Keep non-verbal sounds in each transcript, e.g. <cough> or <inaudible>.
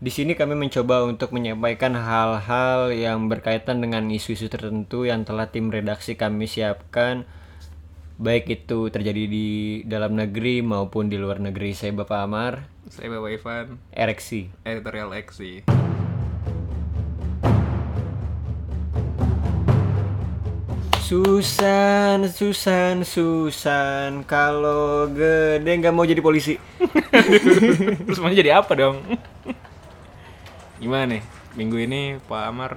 Di sini kami mencoba untuk menyampaikan hal-hal yang berkaitan dengan isu-isu tertentu yang telah tim redaksi kami siapkan baik itu terjadi di dalam negeri maupun di luar negeri. Saya Bapak Amar, Saya Bapak Ivan, ereksi. editorial XC. Susan, Susan, Susan, kalau gede nggak mau jadi polisi. <laughs> Terus mau jadi apa dong? <laughs> Gimana nih? Minggu ini Pak Amar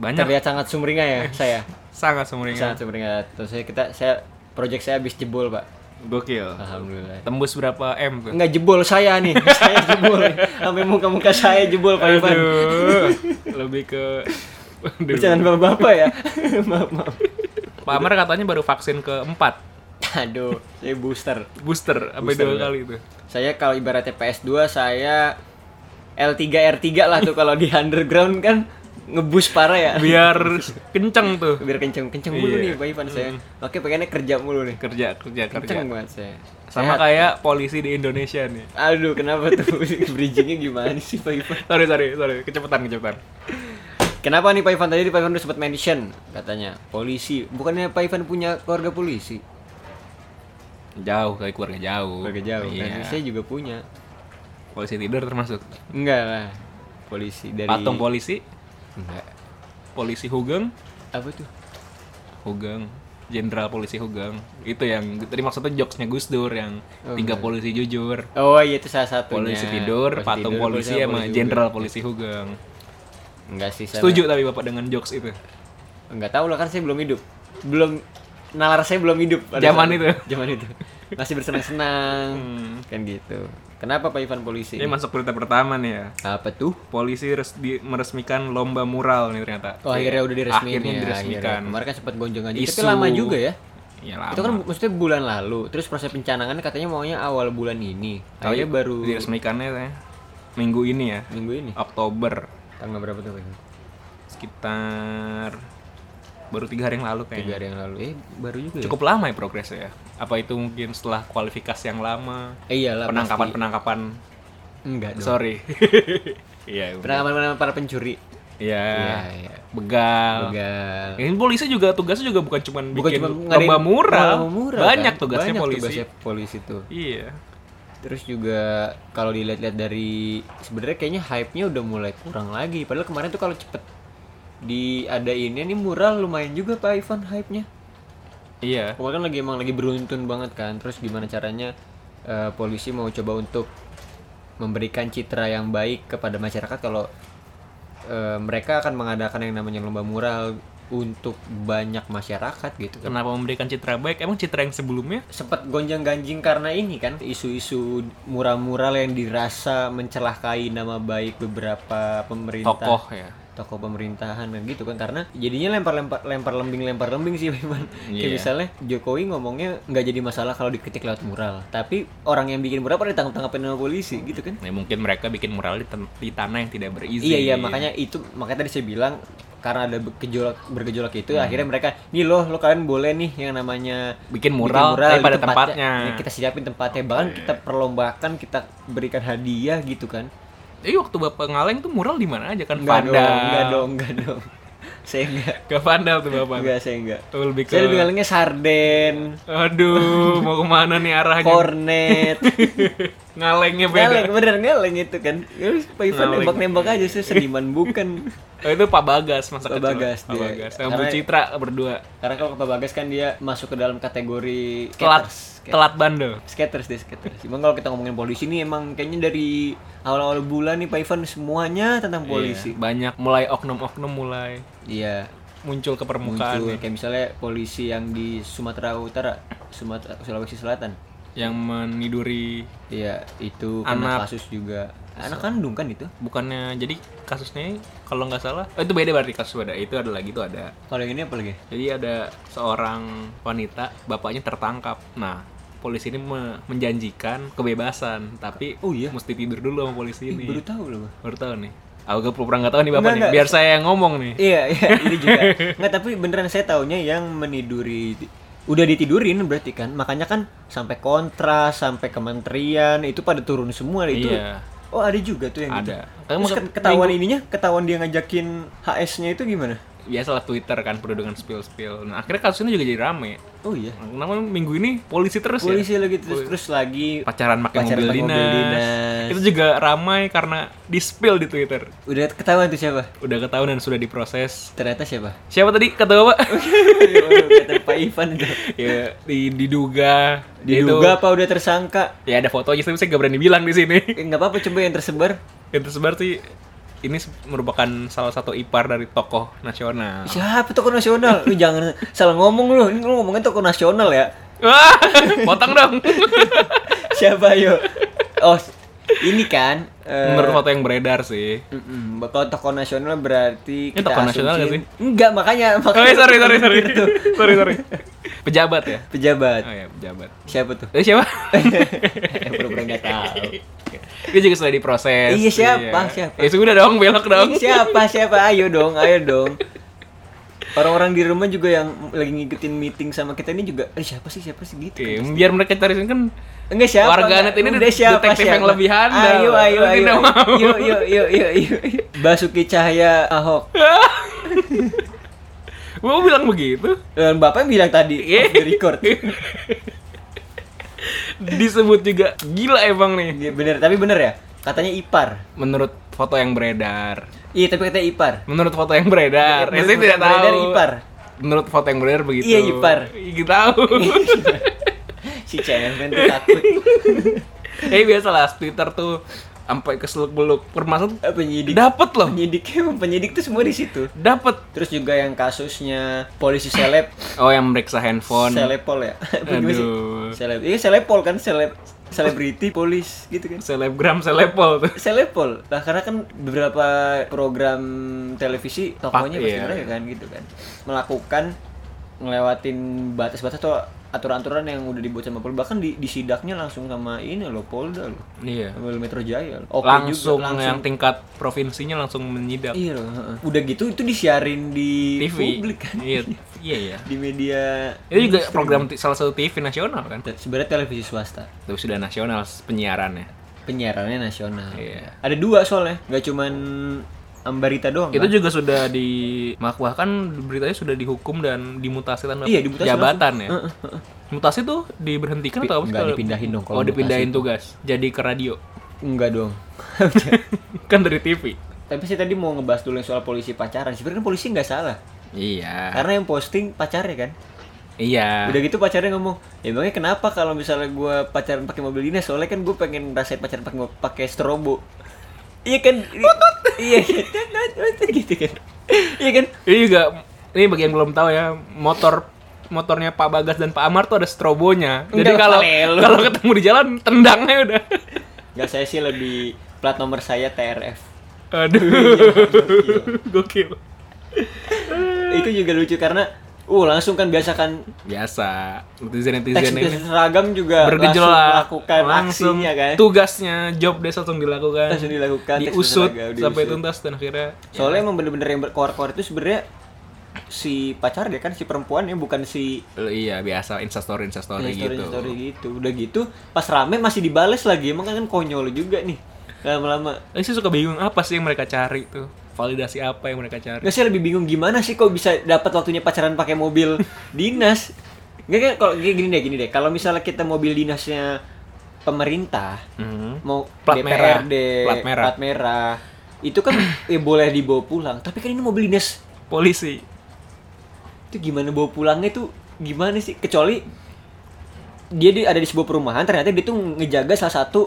banyak Terlihat sangat sumringah ya saya. sangat sumringah. Sangat sumringah. Terus saya kita saya project saya habis jebol, Pak. Gokil. Alhamdulillah. Tembus berapa M tuh? Nggak jebol saya nih. <laughs> saya jebol. Sampai muka-muka saya jebol, Pak Ivan. <laughs> Aduh. Lebih ke Aduh. Bercandaan bapak-bapak ya. <laughs> maaf, maaf. Pak Amar katanya baru vaksin keempat Aduh, saya booster. booster sampai Booster, dua ya. kali itu. Saya kalau ibaratnya PS2 saya L3R3 lah tuh kalau di underground kan ngebus parah ya. <laughs> Biar kenceng tuh Biar kenceng-kenceng mulu nih Iya. Pak Ivan saya. Oke, pengennya kerja mulu nih. kerja kerja kerja. Kenceng banget saya. Sama Sehat. kayak polisi di Indonesia nih. Aduh, kenapa tuh <laughs> bridgingnya gimana sih Pak Ivan? Sorry sorry sorry kecepatan kecepatan. Kenapa nih Pak Ivan tadi Pak Ivan udah sempat mention katanya polisi. Bukannya Pak Ivan punya keluarga polisi? Jauh kayak keluarga jauh. Keluarga jauh. Iya. Nah, saya juga punya. Polisi tidur termasuk. Enggak lah. Polisi dari Patung polisi, Enggak. polisi Hugeng, Apa tuh? Hugeng, Jenderal Polisi Hugeng. Itu yang tadi maksudnya jokesnya Gus Dur yang tiga polisi jujur. Oh iya itu salah satunya. Polisi tidur, patung tidur, polisi sama sama polisi jenderal polisi Hugeng. juga. Enggak sih saya. Setuju tapi Bapak dengan jokes itu. Enggak tahu lah kan saya belum hidup. Belum nalar saya belum hidup. pada saat- Zaman itu. <laughs> Hmm. Zaman itu. Masih bersenang-senang. Kan gitu. Kenapa Pak Ivan polisi? Ini masuk berita pertama nih ya. Apa tuh? Polisi res- di- meresmikan lomba mural nih ternyata. Oh akhirnya udah diresmikan. Akhirnya ya, diresmikan. akhirnya. Kemarin kan sempat gonjong aja. Tapi Isu. lama juga ya. Ya lama. Itu kan bu- maksudnya bulan lalu. Terus proses pencanangan katanya maunya awal bulan ini. Akhirnya baru diresmikannya ya, minggu ini ya. minggu ini. Oktober Tanggal berapa tuh? Pak Ivan? sekitar baru tiga hari yang lalu Tiga kayaknya. hari yang lalu. Eh baru juga. ya? Cukup lama ya progresnya ya. Apa itu mungkin setelah kualifikasi yang lama, Eh, iyalah. pasti. penangkapan-penangkapan, Enggak dong. <laughs> sorry. Iya, Penangkapan para pencuri. iya. iya. Begal. Begal. Ini polisi juga tugasnya juga bukan cuma Bukan bikin cuma lomba ngadain mural. lomba mural, Banyak kan? tugasnya Banyak polisi. tugasnya polisi tuh. Iya. Terus juga kalau dilihat-lihat dari sebenarnya kayaknya hype-nya udah mulai kurang lagi. Padahal kemarin tuh kalau cepet diadainnya nih mural lumayan juga Pak Ivan hype-nya. Iya. Pokoknya kan lagi emang lagi beruntun banget kan. Terus gimana caranya eh, polisi mau coba untuk memberikan citra yang baik kepada masyarakat kalau eh, mereka akan mengadakan yang namanya lomba mural untuk banyak masyarakat gitu kan. Kenapa memberikan citra baik? Emang citra yang sebelumnya? sempat gonjang ganjing karena ini kan isu-isu mural-mural yang dirasa mencelakai nama baik beberapa pemerintah Tokoh ya. tokoh pemerintahan dan gitu kan karena jadinya lempar-lempar lempar lembing lempar lembing sih <laughs> memang kayak Iya. misalnya Jokowi ngomongnya nggak jadi masalah kalau dikritik lewat mural tapi orang yang bikin mural pada ditangkap tangkapin sama polisi gitu kan Ya, mungkin mereka bikin mural di, ten- di tanah yang tidak berizin. Iya iya makanya itu makanya tadi saya bilang karena ada bergejolak bergejolak itu Hmm. akhirnya mereka nih loh lo kalian boleh nih yang namanya Bikin mural, tapi di pada tempatnya. Ya, kita siapin tempatnya bahkan kita perlombakan kita berikan hadiah gitu kan Jadi waktu Bapak ngaleng tuh mural di mana aja kan? enggak dong enggak Vandal. dong enggak dong <laughs> saya enggak Ke Vandal tuh Bapak. enggak saya enggak Tuh lebih ke saya lebih ngalengnya sarden Aduh, mau kemana nih arahnya? kornet Ngalengnya beda. ngaleng bener ngaleng itu kan ya, wis, Pak Ivan Ngaleng. nembak-nembak aja sih seniman bukan Oh, itu Pak Bagas masa Pak kecil. Bagas Pak dia. Bagas. Sama Bu Karena- Citra berdua. karena kalau Pak Bagas kan dia masuk ke dalam kategori Telat skaters. telat bandel. skaters deh skaters. Emang kalau kita ngomongin polisi nih emang kayaknya dari awal-awal bulan nih Pak Ivan semuanya tentang polisi. Banyak mulai oknum-oknum mulai Iya. muncul ke permukaan Muncul nih. kayak misalnya polisi yang di Sumatera Utara, Sumatera Sulawesi Selatan. yang meniduri Iya, itu kena kasus juga. Anak kandung kan itu. bukannya jadi kasusnya kalau nggak salah oh, itu beda berarti kasus beda itu ada lagi tuh ada Kalau yang ini apa lagi? Jadi ada seorang wanita, bapaknya tertangkap. Nah, polisi ini me- menjanjikan kebebasan, tapi Oh, iya? mesti tidur dulu sama polisi ini. Baru tahu loh. Bang. Baru tahu nih. Aku gak pernah nggak tahu nih bapak Enggak, nih. enggak. Biar saya yang ngomong nih. Iya, iya, ini juga. Nggak, tapi beneran saya taunya yang meniduri udah ditidurin berarti kan. Makanya kan sampai kontras, sampai kementerian itu pada turun semua itu. Iya. Oh ada juga tuh yang Ada. gitu. Kan Terus maksud- ke- ketahuan ininya, ketahuan dia ngajakin HS-nya itu gimana? Biasalah Twitter kan penuh dengan spill-spill. Nah, akhirnya kasus ini juga jadi rame. Oh iya. Kenapa minggu ini polisi terus ya? Polisi lagi terus terus lagi pacaran pakai Pacaran mobil, pakai mobil dinas. dinas. Itu juga ramai karena di-spill di Twitter. udah ketahuan tuh siapa? Udah ketahuan dan sudah diproses. Ternyata siapa? Siapa tadi kata <laughs> Bapak? Oh, Kata Pak Ivan itu. ya, di- diduga Diduga apa udah tersangka? itu- ya ada fotonya tapi saya nggak berani bilang di sini. <laughs> Eh, nggak apa-apa coba yang tersebar. Yang tersebar sih ini se- merupakan salah satu ipar dari tokoh nasional. Siapa tokoh nasional? Lu jangan salah ngomong lu. Ini lu ngomongin tokoh nasional ya. <laughs> Wah, <laughs> potong dong. Siapa yo? Oh, ini kan eh, Menurut foto yang beredar sih. Mm-mm. Kalau tokoh nasional berarti Ini tokoh nasional nggak asumsiin- Enggak, makanya Oh, makanya sorry, sorry, sorry. Itu <laughs> sorry, sorry. Pejabat ya? gitu. <laughs> pejabat. Oh ya, pejabat. Siapa tuh? Eh, <laughs> siapa? Eh, pura-pura nggak tahu. Dia juga sudah diproses. Iya, siapa? Siapa? Iya, Ya sudah dong, belok dong. siapa siapa? Ayo dong, ayo dong. Orang-orang di rumah juga yang lagi ngikutin meeting sama kita ini juga, eh siapa sih siapa sih gitu. Oke, biar mereka cari sini kan Enggak siapa? Warganet enggak. ini Udah siapa, detektif siapa? yang lebih handal. Ayo ayo Lu ayo. tidak mau. Yuk yuk yuk yuk yuk. Basuki Cahaya Ahok. Gua mau bilang begitu. Dan Bapak bilang tadi Iya. off the record. Disebut juga gila emang Iya, nih. bener, tapi bener ya. Katanya Ipar. Menurut foto yang beredar. Iya, tapi katanya Ipar. Menurut foto yang beredar. Ya, Menurut saya foto tidak yang beredar, tahu. ipar. Menurut foto yang beredar begitu. Iya, ipar. Iya, tahu. <laughs> si cemen tuh <laughs> takut Eh biasalah Twitter tuh sampai keseluk beluk permasalahan Eh, penyidik dapat loh. penyidiknya emang penyidik tuh semua di situ Dapat. terus juga yang kasusnya polisi seleb Oh, yang meriksa handphone. selepol ya <laughs> Apa gimana sih? Aduh. seleb iya selepol kan seleb selebriti polis gitu kan Selebgram, selepol tuh. selepol lah karena kan beberapa program televisi tokohnya Pak, pasti iya. mereka kan gitu kan melakukan ngelewatin batas-batas atau aturan-aturan yang udah dibuat sama Polda bahkan di, disidaknya langsung sama ini loh Polda loh Iya. sama Metro Jaya loh. Oke juga, langsung, yang tingkat provinsinya langsung menyidak. Iya loh, heeh. Udah gitu itu disiarin di TV. publik kan. Iya, Iya, iya ya. Di media Itu juga program t- salah satu TV nasional kan. sebenarnya televisi swasta. Tapi sudah nasional penyiarannya. Penyiarannya nasional. Iya. Ada dua soalnya, nggak cuman Ambarita doang. Itu kan? juga sudah di kan beritanya sudah dihukum dan dimutasi tanpa Iya, dimutasi jabatan ya. Mutasi tuh diberhentikan atau apa sih nggak, kalau- dipindahin dong kalau Oh, dipindahin tugas. Jadi ke radio. Enggak dong. <laughs> kan dari TV. Tapi sih tadi mau ngebahas dulu yang soal polisi pacaran. Sebenarnya kan polisi nggak salah. Iya. Karena yang posting pacarnya kan. Iya. Udah gitu pacarnya ngomong, "Ya emangnya kenapa kalau misalnya gua pacaran pakai mobil dinas? Soalnya kan gue pengen rasain pacaran pakai mo- pakai strobo." Iya kan? Iya gitu. gitu kan. Iya kan? Ini juga ini bagi yang belum tahu ya, motor motornya Pak Bagas dan Pak Amar tuh ada strobonya. Jadi Enggak, kalau Valelo. kalau ketemu di jalan tendangnya <laughs> udah. Gak saya sih lebih plat nomor saya TRF. Aduh. Iya, Gokil. Itu juga lucu karena uh langsung kan biasa kan Biasa. Netizen-netizen teks ini seragam juga bergejolak langsung melakukan langsung aksinya kan. tugasnya job desk langsung dilakukan Langsung dilakukan, tes diusut olahraga, diusut. sampai tuntas dan akhirnya Soalnya emang bener-bener yang berkoar-koar itu sebenarnya si pacar dia kan si perempuan ya bukan si Eh, iya biasa instastory instastory story gitu story gitu. Udah gitu pas rame masih dibales lagi emang kan konyol juga nih lama-lama. Eh, saya suka bingung apa sih yang mereka cari tuh validasi apa yang mereka cari Nggak saya lebih bingung gimana sih kok bisa dapat waktunya pacaran pakai mobil <laughs> dinas. Nggak kan kalau gini deh gini deh. Kalau misalnya kita mobil dinasnya pemerintah Mhm. mau Plat merah. DPRD, Plat merah. plat merah, itu kan ya boleh dibawa pulang. Tapi kan ini mobil dinas polisi itu gimana bawa pulangnya tuh gimana sih kecuali dia di, ada di sebuah perumahan ternyata dia tuh ngejaga salah satu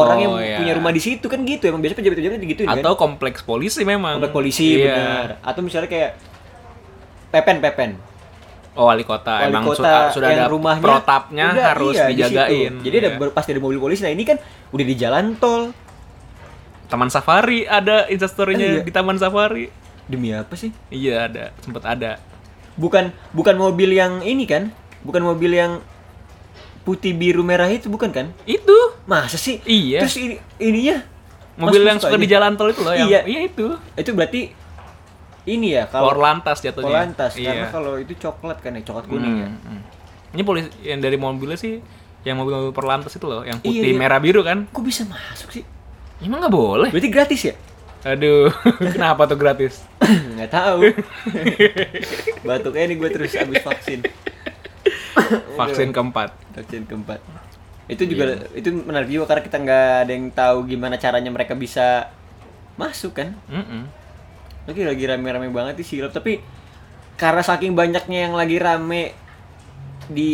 orang Oh, yang iya. punya rumah di situ kan gitu emang biasanya pejabat-pejabat gitu kan atau kompleks polisi memang Komplek polisi Iya. benar atau misalnya kayak pepen pepen oh wali kota wali emang su- kota ah, sudah yang ada rumahnya protapnya udah, harus iya, di situ. dijagain jadi ada Iya. ber- pasti ada mobil polisi nah ini kan udah di jalan tol taman safari ada Iya. instastorynya di taman safari demi apa sih iya ada sempat ada bukan bukan mobil yang ini kan bukan mobil yang putih biru merah itu bukan kan itu masa sih Iya. terus ini ininya mobil Mas yang Puspa suka di aja. jalan tol itu loh yang Iya. iya itu itu berarti ini ya Kalau kalau lantas jatuhnya. polantas karena Iya. kalau itu coklat kan ya coklat Hmm, kuning ya hmm. Ini polisi yang dari mobilnya sih yang mobil-mobil perlantas itu loh, yang Iya, iya. putih merah biru kan? kok bisa masuk sih Emang nggak boleh? Berarti gratis ya? <coughs> Aduh, <laughs> kenapa tuh gratis? Nggak <laughs> tahu. Batuknya nih gue terus abis vaksin. Vaksin keempat. Vaksin keempat. Itu juga Iya. itu menarik juga karena kita nggak ada yang tahu gimana caranya mereka bisa masuk kan. Mm-mm. Lagi lagi rame-rame banget sih silap tapi karena saking banyaknya yang lagi rame di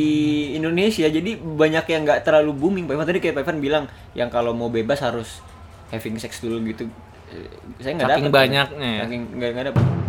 Indonesia jadi banyak yang nggak terlalu booming. Pak Ivan tadi kayak Pak Ivan bilang yang kalau mau bebas harus having sex dulu gitu. Eh, Saya nggak Saking dapet. banyaknya ya? Saking nggak nggak dapet.